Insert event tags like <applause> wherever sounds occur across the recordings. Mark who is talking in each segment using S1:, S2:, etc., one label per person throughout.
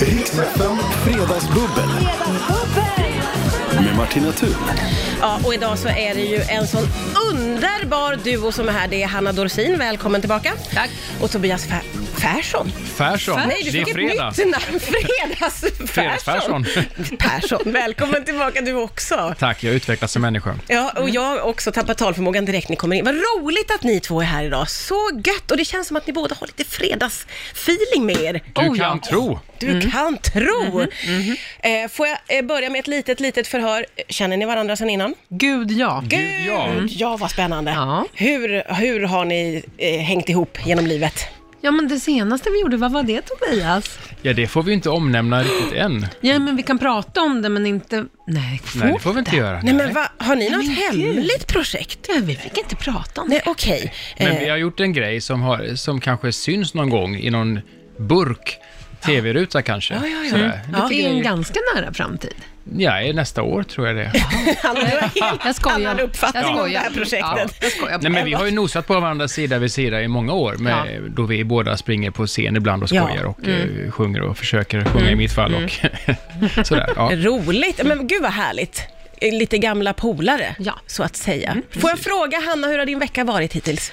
S1: Riksfem Fredagsbubbel med Martina Thun.
S2: Ja, och idag så är det ju en sån underbar duo som är här. Det är Hanna Dorsin, välkommen tillbaka. Tack. Och Tobias Fä- Persson.
S3: Persson,
S2: Nej, du
S3: det är
S2: fick ett
S3: fredag.
S2: nytt namn. <laughs> Fredags Persson.
S3: Fredagspersson.
S2: <laughs> Persson, välkommen tillbaka du också.
S3: Tack, jag utvecklas som människa.
S2: Ja, och jag har också tappat talförmågan direkt ni kommer in. Vad roligt att ni två är här idag. Så gött! Och det känns som att ni båda har lite fredagsfeeling med er.
S3: Du kan tro.
S2: Du kan tro! Eh, får jag eh, börja med ett litet, litet förhör? Känner ni varandra sedan innan?
S4: Gud ja.
S3: Gud, ja.
S2: Ja, vad spännande.
S4: Mm. Ja.
S2: Hur, hur har ni eh, hängt ihop genom livet?
S4: Ja men det senaste vi gjorde, vad var det Tobias?
S3: ja, det får vi inte omnämna riktigt än.
S4: Ja men vi kan prata om det men inte... Nej, får
S3: Nej, det får vi inte göra.
S2: Nej, men va, har ni något
S4: men gud.
S2: hemligt projekt?
S4: Ja, vi fick inte prata om det.
S2: Nej, okej.
S3: Men
S2: Eh, <laughs>
S3: vi har gjort en grej som, har, som kanske syns någon gång i någon burk tv-ruta kanske.
S2: ja, ja. Mm.
S3: Sådär.
S4: Ja, det är ju en
S3: Lite grejer.
S4: ganska nära <laughs> framtid.
S3: Ja, i nästa år tror jag det.
S2: Han har en helt
S4: Jag skojar.
S2: annan uppfattning
S4: Jag skojar.
S2: om det här projektet.
S4: Ja, jag skojar.
S3: Nej, men vi har ju nosat på varandra sida vid sida i många år, med, då vi båda springer på scen ibland och
S2: Ja. Mm.
S3: skojar och eh, sjunger och försöker sjunga i mitt fall och <laughs> sådär.
S2: Mm.
S3: Ja.
S2: Roligt! Men gud vad härligt. Eh, Lite gamla polare,
S4: Ja. Mm,
S2: så att säga. Får jag fråga, Hanna, hur har din vecka varit hittills?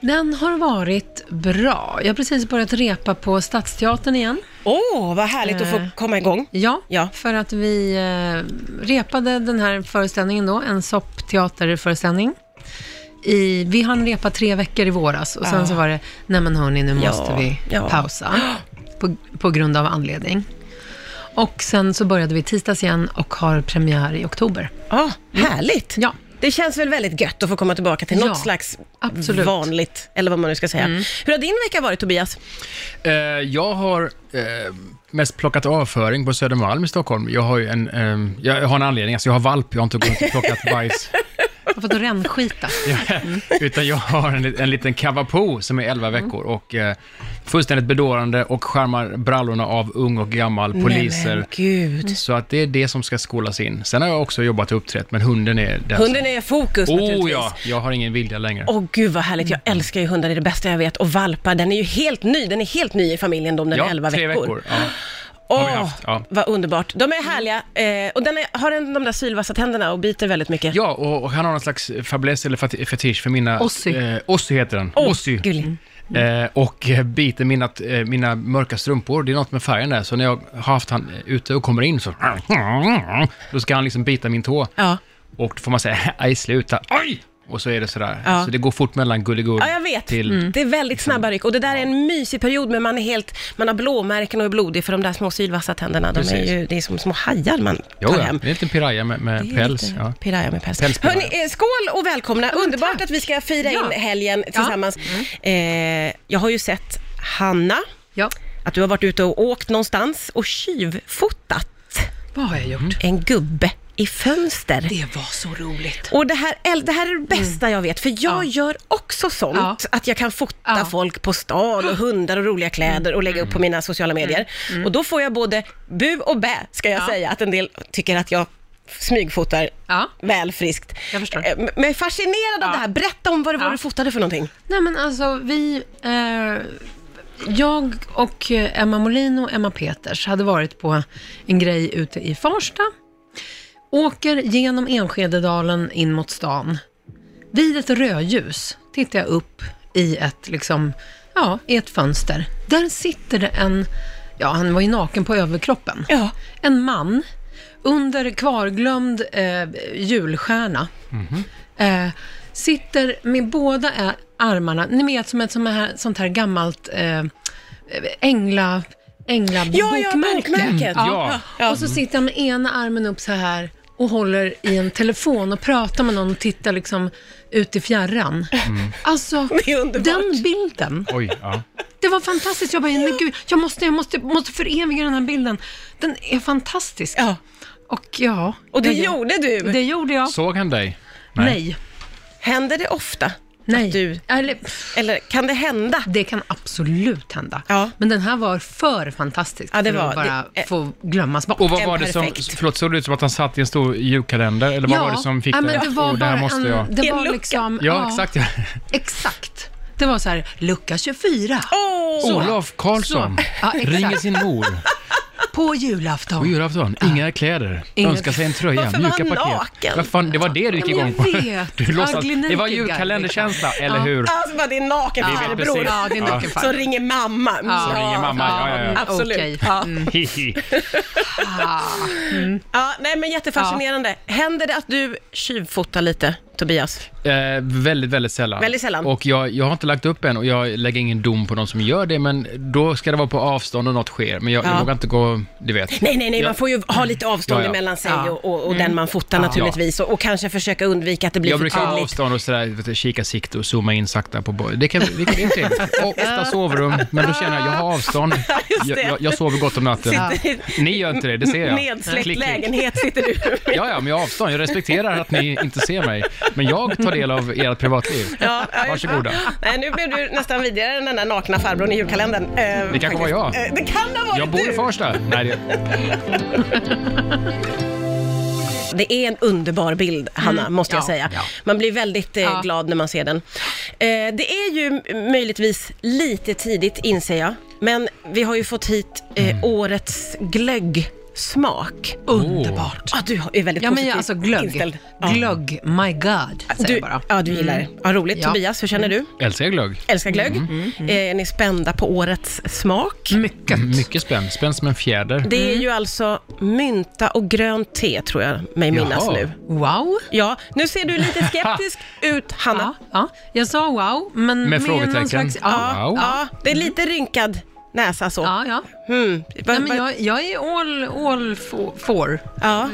S4: Den har varit bra. Jag har precis börjat repa på Stadsteatern igen.
S2: Åh, vad härligt att få
S4: Eh.
S2: komma igång.
S4: Ja,
S2: Ja.
S4: för att vi eh, repade den här föreställningen då, en soppteaterföreställning. I, vi hann repa tre veckor i våras och sen
S2: Ja.
S4: så var det, nej men hörni, nu
S2: Ja,
S4: måste vi
S2: ja.
S4: pausa på, på grund av anledning. Och sen så började vi i tisdags igen och har premiär i oktober.
S2: Ja, härligt!
S4: Ja.
S2: Det känns väl väldigt gött att få komma tillbaka till något
S4: Ja,
S2: slags
S4: absolut. Mm.
S2: vanligt, eller vad man nu ska säga. Hur har din vecka varit, Tobias?
S3: Eh, jag har eh, mest plockat avföring på Södermalm i Stockholm. Jag har ju en, eh, jag har en anledning, alltså jag har valp, jag har inte gått
S2: <laughs>
S3: och plockat bajs.
S4: Jag har fått <laughs> rännskita.
S3: Utan jag har en, en liten kavapo som är 11
S2: Mm.
S3: veckor och eh, fullständigt bedårande och skärmar brallorna av ung och gammal, poliser. Mm.
S2: Nej, men gud.
S3: Så att det är det som ska skolas in. Sen har jag också jobbat och uppträtt, men hunden är den
S2: Hunden är i fokus
S3: som... Oh
S2: naturligtvis.
S3: ja, Mm. jag har ingen vilja längre.
S2: Åh gud vad härligt, jag älskar ju hundar, det är det bästa jag vet. Och valpar, den är ju helt ny, den är helt ny i familjen då, om den
S3: ja,
S2: är 11
S3: tre veckor. Ja.
S2: Åh,
S3: vi haft, ja.
S2: vad underbart. De är härliga eh, och den är, har en, de där sylvassa tänderna och biter väldigt mycket.
S3: Ja, och, och han har någon slags fäbless eller fati- fetisch för mina...
S4: Ossi.
S3: Eh, Ossi heter den.
S2: Åh,
S3: Ossi.
S2: gullig.
S3: Eh, och eh, biter mina, t- eh, mina mörka strumpor. Det är något med färgen där. Så när jag har haft han eh, ute och kommer in så... Då ska han liksom bita min tå.
S2: Ja.
S3: Och då får man säga <laughs> aj, sluta, aj! Och så är det sådär.
S2: Ja.
S3: Så det går fort mellan gulligull
S2: Ja, jag vet. Mm.
S3: till... Liksom.
S2: Det är väldigt snabba ryck och det där är en mysig period men man är helt, man har blåmärken och är blodig för de där små sylvassa tänderna, de är
S3: Precis.
S2: ju, det är som små hajar man
S3: Jo,
S2: tar
S3: ja.
S2: hem.
S3: Det är en liten piraya med, med
S2: Det är
S3: päls.
S2: lite
S3: Ja.
S2: Piraya med päls.
S3: Päls, piraya.
S2: Hörni, eh, skål och välkomna. Underbart att vi ska fira
S4: Ja. Mm.
S2: in helgen tillsammans. Eh, jag har ju sett Hanna,
S4: Ja,
S2: att du har varit ute och åkt någonstans och tjuvfotat
S4: vad har jag gjort?
S2: en gubbe i fönster.
S4: Det var så roligt.
S2: Och det här, äl- det här är det bästa jag vet, för jag
S4: Mm. Ja.
S2: gör också sånt,
S4: Ja.
S2: att jag kan fota
S4: Ja. Mm.
S2: folk på stan och hundar och roliga kläder och lägga upp på mina sociala medier. Och då får jag både bu och bä, ska jag
S4: Ja.
S2: säga, att en del tycker att jag smygfotar
S4: Ja.
S2: väl friskt.
S4: Jag förstår.
S2: Eh, Men jag är fascinerad av
S4: Ja.
S2: det här. Berätta om vad det var
S4: Ja.
S2: du fotade för någonting.
S4: Nej men alltså vi, eh, jag och eh, Emma Molin och Emma Peters hade varit på en grej ute i Farsta. Åker genom Enskededalen in mot stan. Vid ett rödljus tittar jag upp i ett, liksom, ja, i ett fönster. Där sitter det en, ja han var ju naken på överkroppen.
S2: Ja.
S4: En man under kvarglömd eh, julstjärna eh, sitter med båda ä- armarna, ni vet som ett som här, sånt här gammalt eh, ängla, ängla
S2: Ja, ja, bokmärket.
S3: Ja.
S2: Ja.
S4: Och så sitter han med ena armen upp så här och håller i en telefon och pratar med någon och tittar liksom ut i fjärran. Alltså,
S2: Det är underbart.
S4: den bilden.
S3: Oj, ja.
S4: Det var fantastiskt. Jag bara, men gud, jag måste, jag måste, måste föreviga den här bilden. Den är fantastisk.
S2: Ja.
S4: Och ja.
S2: Och det
S4: jag-
S2: gjorde du.
S4: Det gjorde jag.
S3: Såg han dig?
S4: Nej.
S2: Händer det ofta?
S4: Nej.
S2: Att du,
S4: Eller, pff,
S2: eller kan det hända?
S4: det kan absolut hända.
S2: Ja,
S4: Men den här var för fantastisk
S2: Ja, det
S4: för
S2: var-
S4: att bara
S2: det- eh.
S4: få glömmas bort.
S3: Och vad
S2: En
S3: var det som,
S2: perfekt.
S3: förlåt, såg det ut som att han satt i en stor julkalender? Eller vad var det som fick
S4: ja,
S3: dig
S4: men
S3: att,
S4: det var
S3: "Åh, det här
S4: bara
S3: måste
S4: en,
S3: jag...
S4: Det
S2: En
S4: var
S2: lucka.
S4: liksom,
S3: Ja, exakt. Ja.
S4: Exakt. Det var så här, lucka 24.
S2: Åh!
S3: Olof Karlsson
S4: Ja, exakt.
S3: ringer sin mor
S4: På julafton.
S3: På julafton, inga kläder,
S4: Inga-
S3: önska sig en tröja,
S2: Ah. Varför var
S3: mjuka
S2: han
S3: paket.
S2: naken?
S3: Vad fan, det var det du gick
S4: Ja, men
S3: igång på.
S4: jag
S3: <laughs>
S4: vet.
S3: Du låtsas,
S4: Ugly
S3: det var
S4: naked guy,
S3: julkalenderkänsla, eller hur?
S2: Alltså bara det är en naken
S3: vet
S2: farbror
S3: precis.
S4: Ja, det är
S3: Ja.
S4: naken
S2: som
S4: farbror.
S2: ringer mamma.
S4: Ja.
S3: Som ringer mamma, ja, ja, ja.
S2: Absolut.
S4: Okej.
S2: Ja.
S4: Mm.
S3: Hihi.
S4: Ah.
S2: Ja, nej men jättefascinerande. Händer det att du tjuvfotar lite, Tobias?
S3: <laughs> Eh, väldigt, väldigt sällan.
S2: Väldigt sällan.
S3: Och jag, jag har inte lagt upp än och jag lägger ingen dom på någon som gör det, men då ska det vara på avstånd och något sker. Men jag,
S2: Ja.
S3: jag vågar inte gå, du vet.
S2: Nej, nej, nej,
S3: Ja.
S2: man får ju ha lite avstånd
S3: Ja, ja.
S2: mellan sig
S4: Ja. Mm.
S2: och, och, och den man fotar naturligtvis och, och kanske försöka undvika att det blir
S3: Jag
S2: för
S3: brukar ha
S2: tydligt.
S3: avstånd och sådär, vet du, kika sikte och zooma in sakta på boy. Det kan det kan bli trevligt. Ofta sovrum, men då känner jag, jag har
S2: <laughs>
S3: avstånd.
S2: Just
S3: Jag,
S2: det.
S3: jag, jag sover gott om natten.
S2: Sitter i-
S3: Ni gör inte det, det ser jag.
S2: Nedsläckt
S3: Klick, klick.
S2: lägenhet sitter
S3: <laughs>
S2: du med.
S3: Ja, ja, men jag har avstånd. Jag respekterar att ni inte ser mig. Men jag tar del av ert privatliv.
S2: Ja, ja, just det.
S3: Varsågoda.
S2: Nej, nu blev du nästan vidare än den där nakna farbrorn i julkalendern. Eh,
S3: Det kanske var jag.
S2: Eh, det kan ha varit
S3: Jag bor
S2: du.
S3: i Farsta. Nej, det,
S2: Det är en underbar bild, Hanna, måste jag
S4: Mm. Ja.
S2: säga. Man blir väldigt eh,
S4: Ja.
S2: glad när man ser den. Eh, det är ju m- möjligtvis lite tidigt, inser jag, men vi har ju fått hit eh,
S4: Mm.
S2: årets glöggsmak.
S4: Oh. Underbart.
S2: Ja, du är väldigt
S4: Ja, men
S2: positiv
S4: jag, alltså glögg.
S2: inställd. Ja. Alltså,
S4: Glögg, my god, säger
S2: Du,
S4: jag bara. Mm.
S2: ja, du gillar det. Ja, roligt.
S4: Ja. Mm.
S2: Tobias, hur känner du?
S3: älskar jag glögg.
S2: Älskar glögg. Eh, är ni spända på årets smak?
S4: Mm. Mycket.
S3: Mycket spänn. Spänn som en fjäder.
S2: Det är ju alltså mynta och grönt te, tror jag mig minnas
S3: Jaha.
S2: nu.
S4: Wow.
S2: Ja, nu ser du lite skeptisk ut, Hanna.
S4: <laughs> Ja, ja. Jag sa wow, men med,
S3: frågetecken.
S4: någon slags... Ja,
S3: Wow. Mm.
S2: Ja, det är lite rynkad näsa så.
S4: ja. ja.
S2: Mm. Va-
S4: Nej, men
S2: va-
S4: jag, jag är all, all for. for.
S2: ja.
S4: Eh,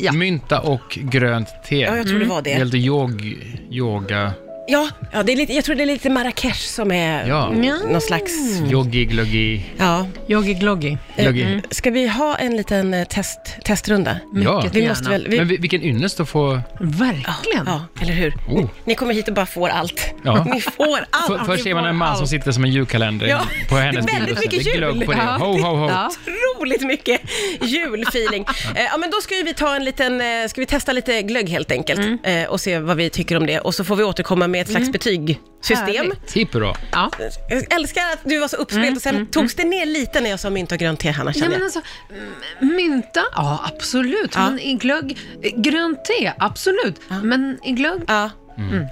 S4: Ja.
S3: Mynta och grönt te.
S2: ja, jag tror det
S4: Mm.
S2: var
S3: Det är
S2: det.
S3: lite yog, yoga,
S2: Ja, ja det är lite, jag tror det är lite Marrakesh som är
S3: ja.
S2: någon slags...
S3: Yogi, glöggi,
S2: Ja.
S4: Yoggi gloggi.
S2: Eh,
S3: glöggi.
S2: Ska vi ha en liten eh, test, testrunda?
S3: Ja.
S4: Mycket
S2: Vi
S4: Mm. gärna.
S2: måste väl... Vi,
S3: Men vi- vilken ynnest att få...
S4: Verkligen.
S2: ja, eller hur?
S3: Oh.
S2: Ni kommer hit och bara får allt.
S3: Ja.
S2: Ni får allt.
S3: För, först
S2: Ni
S3: ser man
S2: får
S3: en man som
S2: allt.
S3: sitter som en julkalender
S2: Ja,
S3: på
S2: det är
S3: hennes bild.
S2: väldigt
S3: och sen
S2: mycket
S3: det är glögg på det.
S4: Ja.
S3: Ho, ho, ho.
S4: Ja.
S2: <laughs> Otroligt mycket
S4: <laughs>
S2: julfeeling. Eh, ja, men då ska ju vi ta en liten, eh, ska vi testa lite glögg helt enkelt
S4: Mm.
S2: eh, och se vad vi tycker om det och så får vi återkomma med ett slags betygssystem.
S4: Härligt.
S3: Tipp bra.
S4: Ja.
S2: Jag älskar att du var så uppspelt och sen togs det ner lite när jag sa mynt och grönt te, Hanna,
S4: mm, Ja,
S2: känner
S4: men
S2: jag.
S4: alltså, m- mynta, ja absolut.
S2: Ja.
S4: Men i glögg, eh, grönt te, absolut. Men i glögg,
S2: Ja,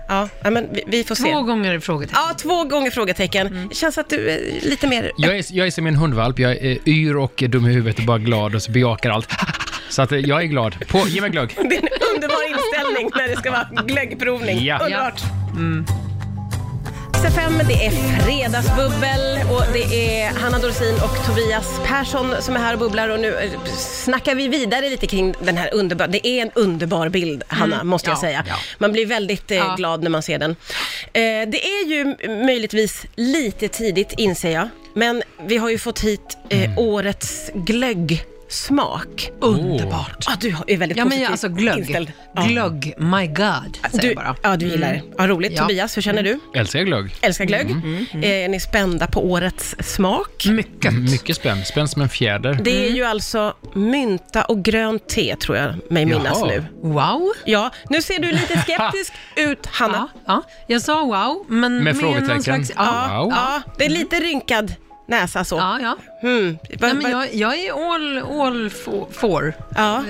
S2: ja. ja men vi, vi får se.
S4: två Mm. gånger frågetecken.
S2: Ja, två gånger frågetecken. Känns att du är lite mer...
S3: Jag är, jag är som en hundvalp. Jag är yr och dum i huvudet och bara glad och så bejakar allt. <laughs> Så att eh, jag är glad. På, ge mig
S2: <laughs>
S3: glögg.
S2: Det är en underbar inställning när det ska vara glöggprovning.
S3: Ja.
S2: Underbart.
S4: Mm.
S2: XFM, det är fredagsbubbel och det är Hanna Dorsin och Tobias Persson som är här och bubblar och nu eh, snackar vi vidare lite kring den här underbara, det är en underbar bild Hanna, måste jag
S4: Mm. Ja,
S2: säga.
S4: ja.
S2: Man blir väldigt eh,
S4: Ja.
S2: glad när man ser den. Eh, det är ju m- möjligtvis lite tidigt inser jag, men vi har ju fått hit eh,
S4: Mm.
S2: årets glöggsmak.
S4: Underbart.
S2: Ja, du är väldigt
S4: Ja, men
S2: positiv
S4: jag, alltså glögg,
S2: inställd. Ja.
S4: glögg, my god, säger
S2: Du,
S4: jag bara.
S2: ja, du gillar det. Ja, roligt.
S4: Ja. Mm.
S2: Tobias, hur känner du?
S3: Älskar jag glögg.
S2: Älskar glögg. Eh, Är ni spända på årets smak?
S4: Mycket.
S3: Mycket spänn. Spänn som en fjäder.
S2: Det är ju alltså mynta och grönt te, tror jag mig minnas
S3: Jaha.
S2: nu.
S4: Wow.
S2: Ja, nu ser du
S4: <laughs>
S2: lite skeptisk ut, Hanna.
S4: Ja, ja. Jag sa wow, men med,
S3: frågetecken.
S4: någon slags... Ja,
S2: Ja,
S3: Wow.
S2: ja, det är lite rynkad näsa så.
S4: ja. ja.
S2: Mm. Va-
S4: Nej, men
S2: va-
S4: jag, jag är all, all for. for.
S2: ja.
S4: Eh,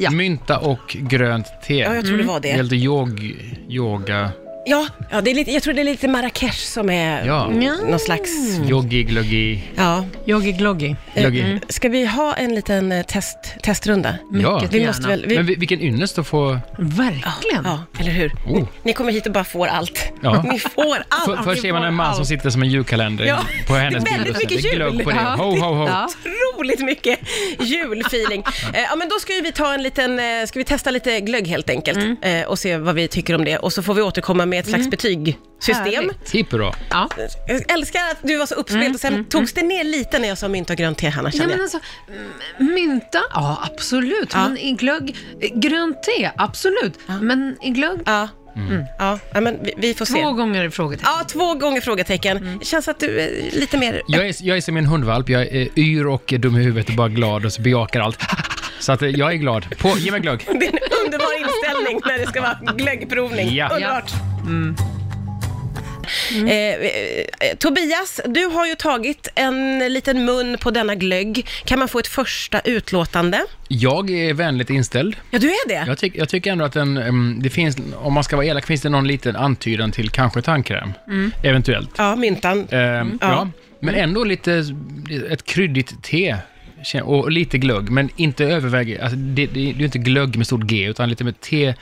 S4: Ja.
S3: Mynta och grönt te.
S2: ja, jag tror det
S4: Mm.
S2: var
S3: Det är
S2: det.
S3: lite yog, yoga,
S2: Ja, ja det är lite, jag tror det är lite Marrakesh som är
S3: Ja.
S2: någon slags...
S4: Mm.
S3: yogi, glöggi,
S2: Ja. Eh,
S4: Yoggi gloggi.
S3: glöggi.
S2: Ska vi ha en liten eh, test, testrunda?
S3: Ja.
S4: Mycket
S2: Vi
S4: gärna.
S2: måste väl... Vi,
S3: Men vi- vilken ynnest att få...
S4: Verkligen.
S2: ja, eller hur?
S3: Oh.
S2: Ni kommer hit och bara får allt.
S3: Ja.
S2: Ni får allt.
S3: För, först
S2: Ni
S3: ser man
S2: får
S3: en man
S2: allt.
S3: som sitter som en julkalender
S2: Ja,
S3: på hennes
S2: det är
S3: bild.
S2: väldigt
S3: och så
S2: mycket
S3: det är glögg på det.
S4: jul.
S3: Ho, ho, ho.
S4: Ja.
S2: Otroligt mycket julfeeling. Eh, Ja, men då ska ju vi ta en liten, eh, ska vi testa lite glögg helt enkelt
S4: Mm.
S2: eh, och se vad vi tycker om det och så får vi återkomma med ett slags betygssystem.
S4: Härligt.
S3: Tipp bra.
S4: Ja.
S2: Jag älskar att du var så uppspelt och sen togs det ner lite när jag sa mynt och grönt te, Hanna,
S4: mm, Ja,
S2: känner
S4: men
S2: jag.
S4: alltså, m- mynta, ja absolut.
S2: Ja.
S4: Men i glögg, eh, grönt te, absolut. Men i glögg,
S2: Ja,
S3: Mm.
S2: ja, ja men vi, vi får
S4: två
S2: se.
S4: gånger Mm. frågetecken.
S2: Ja, två gånger frågetecken. Känns att du är lite mer...
S3: Jag är, jag är som en hundvalp. Jag är yr och dum i huvudet och bara glad och så bejakar allt. <laughs> Så att eh, jag är glad. På, ge mig glögg.
S2: <laughs> Det är en underbar inställning när det ska vara glöggprovning.
S3: Ja.
S2: Underbart. Eh, eh, Tobias, du har ju tagit en liten mun på denna glögg. Kan man få ett första utlåtande?
S3: Jag är vänligt inställd.
S2: Ja, du är det?
S3: Jag, tyck, jag tycker ändå att den, ehm, det finns, om man ska vara elak, finns det någon liten antydan till kanske tandkräm.
S4: Mm.
S3: Eventuellt.
S2: Ja, myntan.
S3: Ehm, ja.
S2: Ja.
S3: Men ändå lite, ett kryddigt te. Kän- Och lite glögg, men inte överväger. Alltså det, det, det är ju inte glögg med stort G, utan lite med te.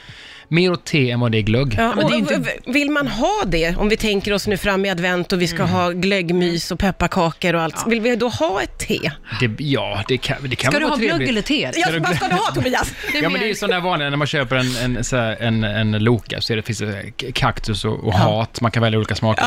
S3: Mer åt te än vad det är glögg.
S2: Ja,
S4: men
S2: och,
S4: det är inte-
S2: v- Vill man ha det, om vi tänker oss nu fram i advent och vi ska ha glöggmys och pepparkakor och allt, vill vi då ha ett te?
S3: Det, ja, det kan, det kan
S4: Ska
S3: väl
S4: du
S3: vara
S4: ha glögg
S3: trevligt.
S4: eller te?
S2: Ja,
S3: du
S2: vad
S3: glö-
S2: ska du ha Tobias?
S3: Ja, men det är ju sådana vanliga när man köper en, en, så här, en, en Loka, så är det, finns det k- kaktus och, och hat, man kan välja olika smaker.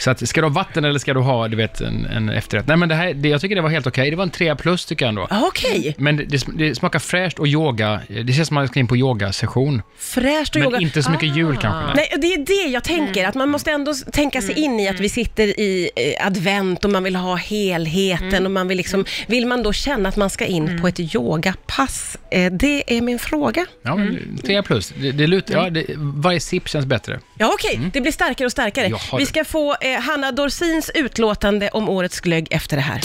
S3: Så att, ska du ha vatten eller ska du ha, du vet, en, en efterrätt? Nej, men det här, det, jag tycker det var helt okej. Det var en 3 plus tycker jag ändå.
S2: Ja, <laughs> Okej,
S3: Men det, det, sm- det smakar fräscht och yoga. Det känns som man ska in på yogasession.
S2: fräscht och
S3: Men
S2: yoga. Ah.
S3: inte så mycket jul kanske.
S2: Nej, det är det jag tänker, att man måste ändå s- tänka sig in i att vi sitter i eh, advent och man vill ha helheten och man vill liksom, vill man då känna att man ska in på ett yogapass? Eh, det är min fråga.
S3: Ja,
S2: Mm.
S3: men 3 plus. Det, det lutar, ja, det, varje sipp känns bättre.
S2: Ja, okej, Mm. det blir starkare och starkare.
S3: Jaha,
S2: vi
S3: du.
S2: ska få eh, Hanna Dorsins utlåtande om årets glögg efter det här.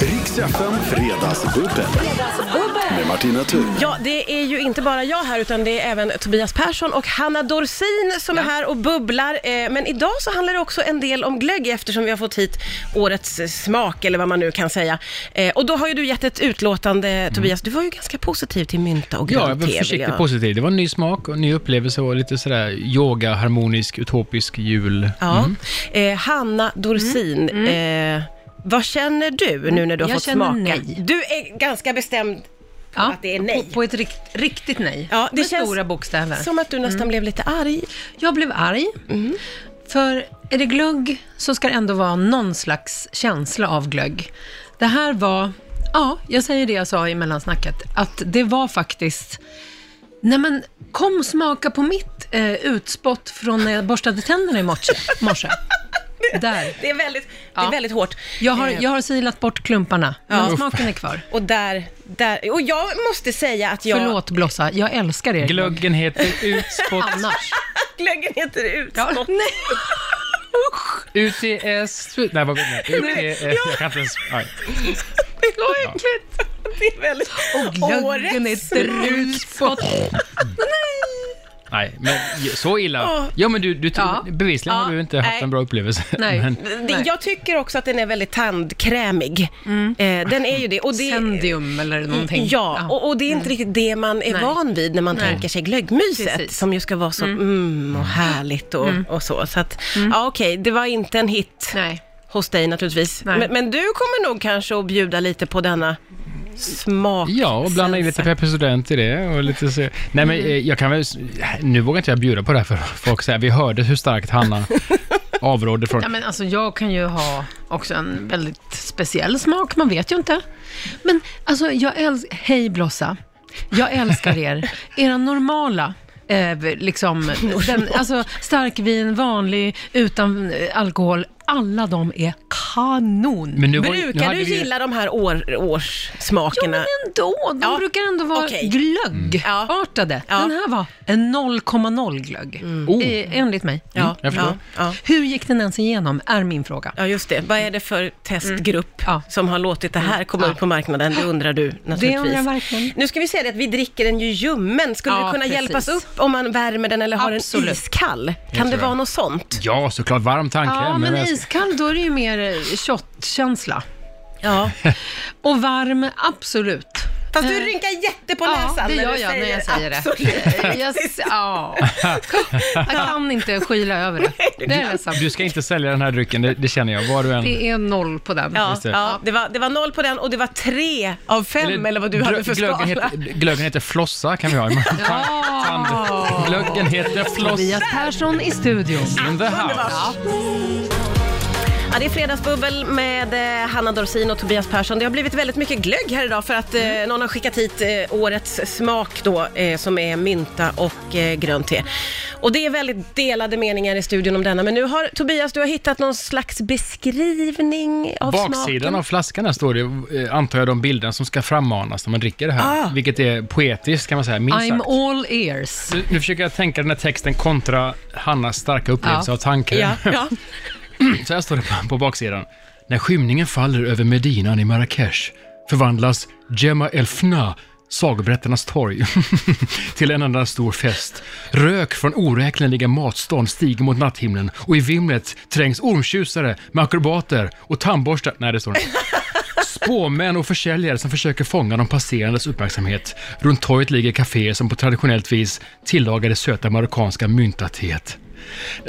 S1: Riks FM Fredagsbubbel. Med Martina Thun.
S2: Ja, det är ju inte bara jag här utan det är även Tobias Persson och Hanna Dorsin som är här och bubblar. Eh, Men idag så handlar det också en del om glögg eftersom vi har fått hit årets eh, smak eller vad man nu kan säga. Eh, Och då har ju du gett ett utlåtande Tobias, du var ju ganska positiv till mynta och
S3: Ja, jag
S2: grönt
S3: var
S2: te. vill
S3: försiktigt
S2: jag-
S3: positiv. Det var en ny smak och en ny upplevelse och lite sådär yoga, harmonisk, utopisk jul.
S2: Ja. Eh, Hanna Dorsin, Eh, vad känner du nu när du har
S4: Jag
S2: fått
S4: känner
S2: smaka?
S4: nej.
S2: Du är ganska bestämd
S4: Ja,
S2: att det är nej.
S4: På, på ett rikt, riktigt nej.
S2: Ja, det
S4: Med
S2: känns-
S4: stora bokstäver.
S2: Som att du nästan blev lite arg.
S4: Jag blev arg.
S2: Mm.
S4: För är det glögg så ska det ändå vara någon slags känsla av glögg. Det här var, ja, jag säger det jag sa i mellansnacket, att det var faktiskt Nej men kom smaka på mitt eh, utspott från när jag borstade tänderna
S2: <laughs>
S4: i morse. morse. Där.
S2: Det är väldigt, det är
S4: Ja.
S2: väldigt hårt.
S4: Jag har,
S2: Eh,
S4: jag har silat bort klumparna, men
S2: Ja.
S4: smaken är kvar.
S2: Och där, där, och jag måste säga att jag...
S4: Förlåt Blossa, jag älskar er.
S3: Glöggen heter utspott.
S4: Annars.
S2: Glöggen heter
S4: Ja,
S2: utspott.
S4: nej.
S3: UTS... Nej, vad menar jag? UTS... Jag kan inte ens... Nej.
S2: Det var äckligt. Det är väldigt...
S4: Och glöggen
S2: Årets
S4: heter utspott.
S3: Nej, men så illa.
S2: Åh.
S3: Ja, men du, du
S4: Ja.
S3: bevisligen har
S2: Ja,
S3: du inte haft
S2: nej.
S3: en bra upplevelse.
S4: Nej.
S3: Men,
S2: Det,
S4: Nej.
S2: jag tycker också att den är väldigt tandkrämig. Eh, den är ju det. Och det
S4: Sendium eller Mm. någonting. Mm.
S2: Ja, och, och det är inte riktigt det man är
S4: Nej.
S2: van vid när man tänker sig glöggmyset,
S4: Precis. Mm.
S2: som ju ska vara så mm, och härligt och, och så. så att, ja, okej, det var inte en hit
S4: Nej.
S2: hos dig naturligtvis.
S4: Nej.
S2: Men, men du kommer nog kanske att bjuda lite på denna smak.
S3: ja, och blanda in lite Pepper Student i det och lite så. Nej, men eh, jag kan väl... s- Nu vågar inte jag bjuda på det här för folk säger, vi hörde hur starkt Hanna avrådde från...
S4: Ja, men alltså, jag kan ju ha också
S3: Mm.
S4: en väldigt speciell smak, man vet ju inte. Men alltså, jag älskar... Hej Blossa. Jag
S2: <laughs>
S4: älskar er. Era normala... Eh, liksom, den, alltså starkvin, vanlig, utan eh, alkohol. Alla de är kanon.
S3: Men nu var- nu
S2: Brukar
S3: hade
S2: du
S3: vi-
S2: gilla de här år,
S4: Ja,
S2: årssmakerna?
S4: men ändå. De
S2: Ja,
S4: brukar ändå vara
S2: okej.
S4: glöggartade.
S2: Ja.
S4: Den här var en 0,0 glögg,
S3: Oh.
S4: eh, enligt mig.
S2: ja,
S3: Mm, jag förstår.
S2: ja.
S4: Hur gick den ens igenom, är min fråga.
S2: Ja, just det. Vad är det för testgrupp
S4: Mm. Ja.
S2: som har låtit det här komma
S4: Ja.
S2: ut på marknaden? Det undrar du naturligtvis.
S4: undrar jag verkligen.
S2: Nu ska vi säga det att vi dricker den ju ljummen. Skulle
S4: Ja,
S2: det kunna
S4: precis.
S2: hjälpas upp om man värmer den eller har
S4: Absolut.
S2: den iskall? Kan det
S3: tror
S2: vara
S3: jag.
S2: något sånt?
S3: Ja, såklart varm tandkräm.
S4: Ja, men
S3: men jag-
S4: iskall, då är det ju mer eh, shot-känsla.
S2: Ja.
S4: Och varm, absolut.
S2: Fast du rynkar jätte på
S4: Eh, Ja,
S2: näsan
S4: det gör
S2: du
S4: jag när jag säger det.
S2: Absolut.
S4: <laughs> Jag, s- ja. jag kan inte skyla över det. Det är ledsamt.
S3: Du ska inte sälja den här drycken, det, det känner jag. Var du än...
S4: Det är noll på den.
S2: Ja,
S3: det.
S2: ja, det, var, det var noll på den och det var tre av fem eller, vad du
S3: glö-
S2: hade för skala.
S3: glöggen heter, glöggen heter flossa kan vi ha. Tand, <laughs> tand. Glöggen heter floss
S4: Tobias Persson i studion.
S3: in the house.
S2: Ja, det är Fredagsbubbel med eh, Hanna Dorsin och Tobias Persson. Det har blivit väldigt mycket glögg här idag för att eh,
S3: Mm.
S2: någon har skickat hit eh, årets smak då, eh, som är mynta och eh, grönt te. Och det är väldigt delade meningar i studion om denna, men nu har Tobias, du har hittat någon slags beskrivning av
S3: Baksidan
S2: smaken.
S3: av flaskan här står det, eh, antar jag, de bilderna som ska frammanas när man dricker det här.
S2: Ah.
S3: Vilket är poetiskt kan man säga, minst
S4: I'm
S3: sagt.
S4: all ears.
S3: Nu- Nu försöker jag tänka den här texten kontra Hannas starka upplevelse
S4: Ja.
S3: av tanken.
S2: Ja, ja.
S3: <laughs> Så här står det på, på baksidan. När skymningen faller över Medinan i Marrakesh förvandlas Gemma Elfna, sagoberättarnas torg, <laughs> till en enda stor fest. Rök från oräkneliga matstånd stiger mot natthimlen och i vimlet trängs ormtjusare med akrobater och tandborstar... Nej, det står inte. Spåmän och försäljare som försöker fånga de passerandes uppmärksamhet. Runt torget ligger kaféer som på traditionellt vis tillagar det söta marockanska myntateet.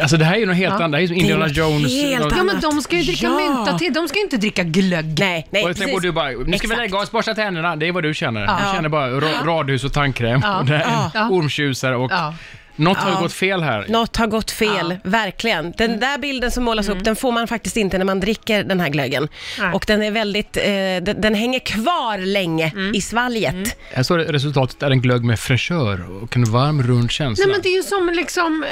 S3: Alltså det här är ju något helt annat. Det här är ju som Indiana
S2: något
S3: Jones. eh,
S2: helt
S3: något-
S4: Ja, men de ska ju dricka
S2: Ja.
S4: mynta till. De ska ju inte dricka glögg.
S2: Nej, nej,
S3: och jag tänker på
S2: precis.
S3: du bara, nu ska vi
S2: Exakt.
S3: lägga oss, borsta tänderna. Det är vad du känner. Du känner bara ra- radhus och tandkräm och det här,
S4: Ja.
S3: ormtjusare och...
S4: Ja.
S3: Något har gått fel här.
S2: Något har gått fel, verkligen.
S4: Mm.
S2: Den där bilden som målas upp, den får man faktiskt inte när man dricker den här glöggen.
S4: Nej.
S2: Och den är väldigt, eh, den, den hänger kvar länge
S4: Mm.
S2: i svalget.
S3: Här står det, resultatet är en glögg med fräschör och en varm rund känsla.
S4: Nej, men det är ju som liksom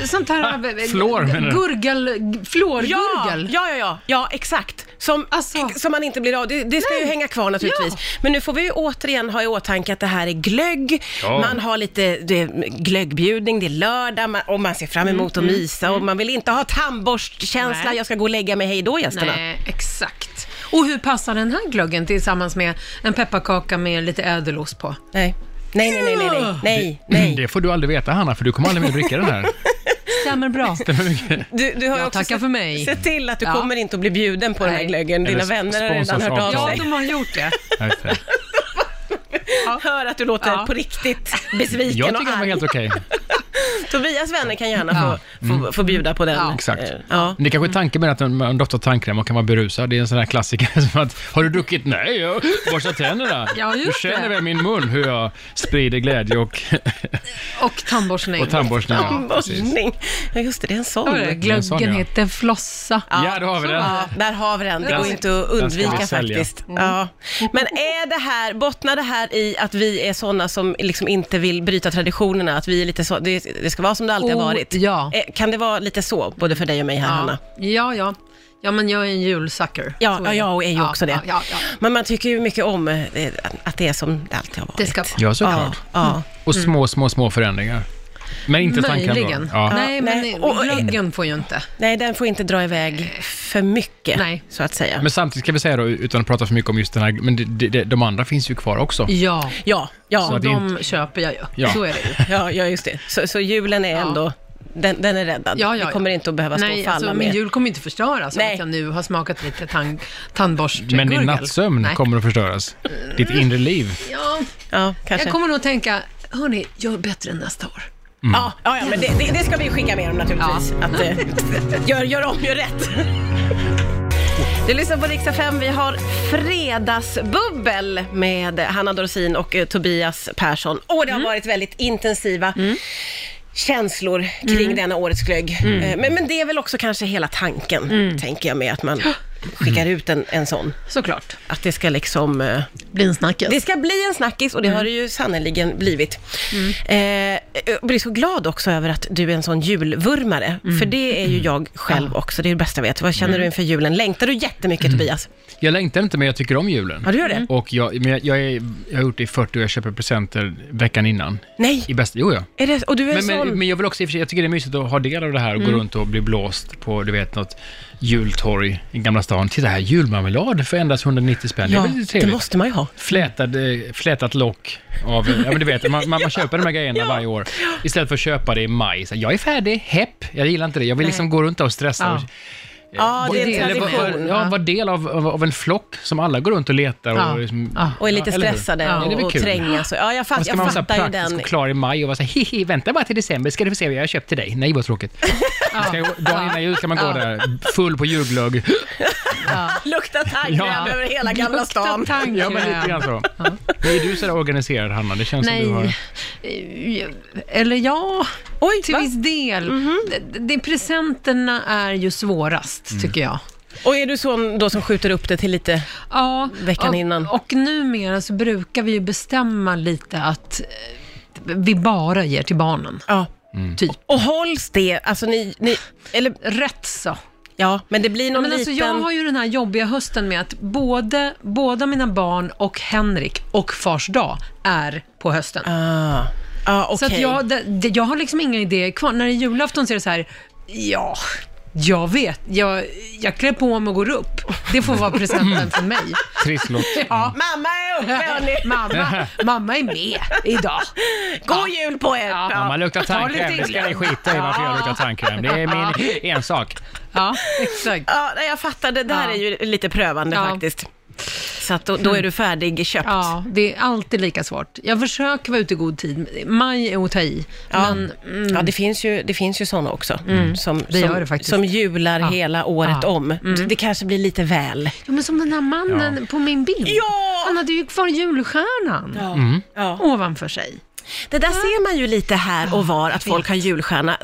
S4: eh, sånt här... eh,
S3: Flår, menar du?
S4: Gurgel...
S2: Ja,
S4: Flårgurgel.
S2: ja, ja, ja, ja, exakt. Som,
S4: Alltså.
S2: ex- som man inte blir av. Det, det ska ju hänga kvar naturligtvis. Men nu får vi ju återigen ha i åtanke att det här är glögg.
S3: Ja.
S2: Man har lite det, är glöggbjudning, det är lördag man, och man ser fram emot att mysa och man vill inte ha tandborstkänsla.
S4: Mm, Nej.
S2: Jag ska gå och lägga mig, hej då gästerna.
S4: Nej, exakt. Och hur passar den här glöggen tillsammans med en pepparkaka med lite ädelost på?
S2: Nej. Nej, nej, nej, nej, nej, nej, nej.
S3: Mm, Det får du aldrig veta Hanna, för du kommer aldrig mer dricka
S4: <laughs>
S3: den här.
S4: Stämmer bra.
S2: Du, du har ju
S4: Jag
S2: också
S4: tackar
S2: sett-
S4: för mig.
S2: sett till att du
S4: Ja.
S2: kommer inte att bli bjuden på den här
S4: Nej.
S2: glöggen. Dina
S3: Eller
S2: vänner har redan
S3: sponsras
S2: hört av
S3: av
S4: Ja,
S2: sig.
S4: de har gjort det.
S3: Nej, fan.
S2: Hör att du låter
S4: Ja.
S2: på
S4: <laughs>
S2: riktigt besviken
S3: Jag
S2: och
S3: tycker den var
S2: arg.
S3: helt okej.
S2: Tobias vänner kan gärna få, få, få bjuda på den.
S4: Ja.
S3: Mm. Exakt.
S2: Eh, Ja.
S3: Men Det är kanske är tanken med att den- man doftar tandkräm och kan vara berusad. Det är en sån här klassiker <laughs> som att, har du druckit? Nej, jag borstar tänderna.
S4: Ja, just
S3: du
S4: det.
S3: känner väl min mun hur jag sprider glädje och,
S4: Och tandborstning.
S3: och
S2: <laughs>
S3: tandborstning. Ja, precis.
S2: Borstning. Ja, just det, det är en sån.
S4: Hörru,
S3: en sån,
S4: Glöggen
S3: ja.
S4: heter flossa.
S3: Ja, då har vi den.
S2: Ja, där har vi den. Det
S3: Den-
S2: går inte att
S3: den ska
S2: undvika
S3: vi sälja.
S2: faktiskt.
S4: Mm.
S2: Ja. Men är det här, bottnar det här i att vi är sådana som liksom inte vill bryta traditionerna? Att vi är lite så, det, det ska vara som det alltid har
S4: Oh,
S2: varit?
S4: ja.
S2: Eh, Kan det vara lite så, både för dig och mig här, Hanna?
S4: Ja, ja. ja. Ja, men jag är en julsucker.
S2: Ja,
S4: Så
S2: ja,
S4: det.
S2: jag är ju
S4: Ja,
S2: också det.
S4: Ja, ja, ja.
S2: Men man tycker ju mycket om eh, att det är som det alltid har varit.
S4: Det ska Mm. vara.
S3: Ja, såklart.
S2: Ja, ja.
S3: Och små, små, små förändringar. Men inte tandkräm
S4: Möjligen.
S3: då. Ja.
S4: Nej,
S2: Nej,
S4: men
S2: och-
S4: glöggen får ju inte.
S2: Nej, den får inte dra iväg för mycket,
S4: Nej.
S2: så att säga.
S3: Men samtidigt kan vi säga då, utan att prata för mycket om just den här, men det, det, det, de andra finns ju kvar också.
S4: Ja,
S2: Ja, ja,
S3: Så-
S4: och
S3: det är
S4: de köper jag ju.
S3: Ja.
S4: Så är det
S2: <laughs>
S4: ju.
S2: ja, ja just det. Så, så julen är ändå, den, den är räddad.
S4: Ja, ja,
S2: Vi
S4: ja.
S2: kommer inte att behöva stå och
S4: Nej,
S2: falla
S4: alltså, min
S2: med.
S4: jul kommer inte förstöras av
S2: Nej.
S4: att jag nu har smakat lite tand, tandborstgurgel.
S3: Men din nattsömn
S4: Nej.
S3: kommer att förstöras. Ditt inre liv.
S4: Ja,
S2: Ja, kanske.
S4: jag kommer nog tänka, hörni, gör bättre nästa år.
S2: Ja, ja, ja, men det, det, det ska vi skicka med dem naturligtvis. Att, eh, gör, gör om, gör rätt. <laughs> Du lyssnar på Riksdag 5. Vi har Fredagsbubbel med Hanna Dorsin och eh, Tobias Persson. Och det har varit väldigt intensiva känslor kring denna årets glögg. Eh, Men, men det är väl också kanske hela tanken, tänker jag, med att man skickar ut en, en sån.
S4: Såklart.
S2: Att det ska liksom... eh,
S4: Bli en snackis.
S2: det ska bli en snackis och det
S3: Mm.
S2: har det ju sannerligen blivit. Eh, jag blir så glad också över att du är en sån julvurmare,
S3: Mm.
S2: för det är ju jag själv också. Det är det bästa jag vet. Vad känner du inför julen? Längtar du jättemycket
S3: Mm.
S2: Tobias?
S3: Jag längtar inte, men jag tycker om julen.
S2: Ja, du gör det?
S3: Och jag, men jag, jag, är, jag har gjort det i 40 och jag köper presenter veckan innan. I
S2: Nej,
S3: bästa, jo, ja.
S2: är det, och du Mm. är en
S3: Men,
S2: sån?
S3: men, men jag vill också, i och för sig- jag tycker det är mysigt att ha del av det här och gå runt och bli blåst på, du vet, något jultorg i Gamla stan. Titta här, julmarmelad för endast 190 spänn. det är
S2: ja,
S3: väl lite
S2: det
S3: trevligt.
S2: måste man ju ha.
S3: Flätad, eh, flätat lock av, eh, ja men du vet, man, man, man köper de
S2: <laughs>
S3: här grejerna varje år istället för att köpa det i maj. Så här, jag är färdig, hepp, jag gillar inte det. Jag vill liksom gå runt där och stressa.
S4: Ja.
S3: Och,
S2: Ja, det är
S4: det
S2: en
S4: är
S3: eller
S4: det.
S3: vara
S2: tradition.
S3: ja, var del av, av, av en flock som alla går runt och letar och,
S4: Ja.
S3: liksom-
S4: Ja.
S2: Och är lite
S3: Ja, eller hur?
S2: stressade
S4: Ja,
S3: det är
S2: och,
S3: väl
S2: och
S3: kul.
S2: tränga. Så, ja, jag,
S3: Men
S2: fatt, Alltså,
S3: ska
S2: jag
S3: Alltså, man vara så
S2: fattar ju
S3: här praktisk
S2: den.
S3: och klar i maj och vara så här, hihi, vänta bara till december ska du få se vad jag har köpt till dig. Nej, vad tråkigt. Man Ska, ju- dagen innan jul ska man gå där, full på julglögg.
S2: <laughs> Lukta tandkräm
S3: Ja.
S2: över hela Gamla
S4: Lukta
S2: stan.
S4: tandkräm.
S3: Ja, men lite grann så. Men är du så där organiserad, Hanna? Det känns som du har...
S4: Nej. Eh, Eller ja,
S2: Oj,
S4: till
S2: va? Mhm.
S3: Mm.
S4: viss del. Det, det, presenterna är ju svårast, tycker jag.
S2: Och är du sån då som skjuter upp det till lite...
S4: Ja,
S2: Veckan
S4: och,
S2: innan.
S4: Och numera så brukar vi ju bestämma lite att eh, vi bara ger till barnen.
S2: Ja.
S4: Typ.
S2: Och hålls det, alltså ni, ni eller
S4: Rätt så.
S2: ja, men det blir någon
S4: Men alltså,
S2: liten...
S4: jag har ju den här jobbiga hösten med att både, båda mina barn och Henrik och Fars dag är på hösten.
S2: Ah, ah,
S4: Så
S2: okej.
S4: att jag, det, det, jag har liksom inga idéer kvar. När det är julafton så är det så här, ja, jag vet, jag, jag klär på mig och går upp. Det får
S2: <laughs>
S4: vara presenten från mig.
S3: Trisslott.
S4: Ja.
S2: Mamma är uppe <laughs> hörni!
S4: Mamma, mamma är med idag.
S2: God jul på er!
S4: Ja.
S2: Ja.
S3: Mamma luktar
S4: Ta
S3: tandkräm,
S4: lite
S3: det ska
S4: illa.
S3: ni skita i varför jag luktar tandkräm. Det är min ensak.
S4: Ja, exakt.
S2: Ja, nej, jag fattar, det där
S4: Ja.
S2: är ju lite prövande
S4: Ja.
S2: faktiskt. Så att då, då är du färdigköpt.
S4: Ja, det är alltid lika svårt. Jag försöker vara ute i god tid. Maj är att ta i, men mm,
S2: Ja, det finns ju, det finns ju sådana också. Som,
S4: Det gör det
S2: som,
S4: faktiskt.
S2: som jular hela året
S4: Ja. Mm.
S2: om. Det- Det kanske blir lite väl.
S4: Ja, men som den här mannen på min bild.
S2: Ja!
S4: Han hade ju kvar julstjärnan
S2: Ja.
S4: ovanför sig.
S2: Det där ser man ju lite här och var, att folk har julstjärna.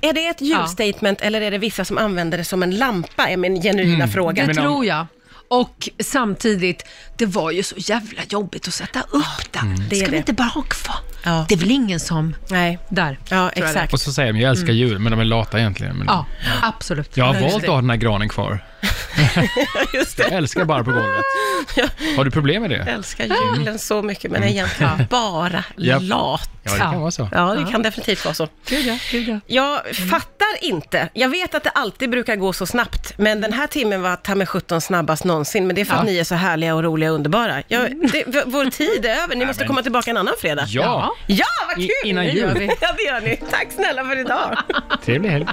S2: Är det ett julstatement eller är det vissa som använder det som en lampa? Är min genuina fråga.
S4: Mm. Det
S3: men om-
S4: tror jag. Och samtidigt, det var ju så jävla jobbigt att sätta upp det.
S2: det är
S4: Ska
S2: det.
S4: vi inte bara ha kvar?
S2: Ja.
S4: Det är väl ingen som...
S2: Nej.
S4: Där.
S2: Ja,
S4: tror jag det.
S2: exakt.
S3: Och så säger de, jag älskar jul, men de är lata egentligen. Men
S4: Ja, absolut.
S3: Jag har
S4: Nej,
S3: valt att ha den här granen kvar.
S2: Just det.
S3: Jag älskar bara på golvet. Har du problem med
S2: Jag
S3: det?
S2: älskar julen så mycket, men är
S3: <laughs>
S2: egentligen bara
S3: Japp.
S2: lat.
S3: Mm. Ja, det kan vara så.
S2: Ja, det kan definitivt vara så.
S4: Gud ja, gud ja.
S2: Jag fattar inte. Jag vet att det alltid brukar gå så snabbt, men den här timmen var ta mig sjutton snabbast någonsin. Men det är för att ni är så härliga och roliga och underbara. Jag, det, v- vår tid är över. Ni måste
S3: men-
S2: komma tillbaka en annan fredag.
S3: Ja,
S2: Ja, vad kul! <laughs>
S3: I- innan jul.
S2: Ja, det gör ni. Tack snälla för idag.
S3: trevlig helg.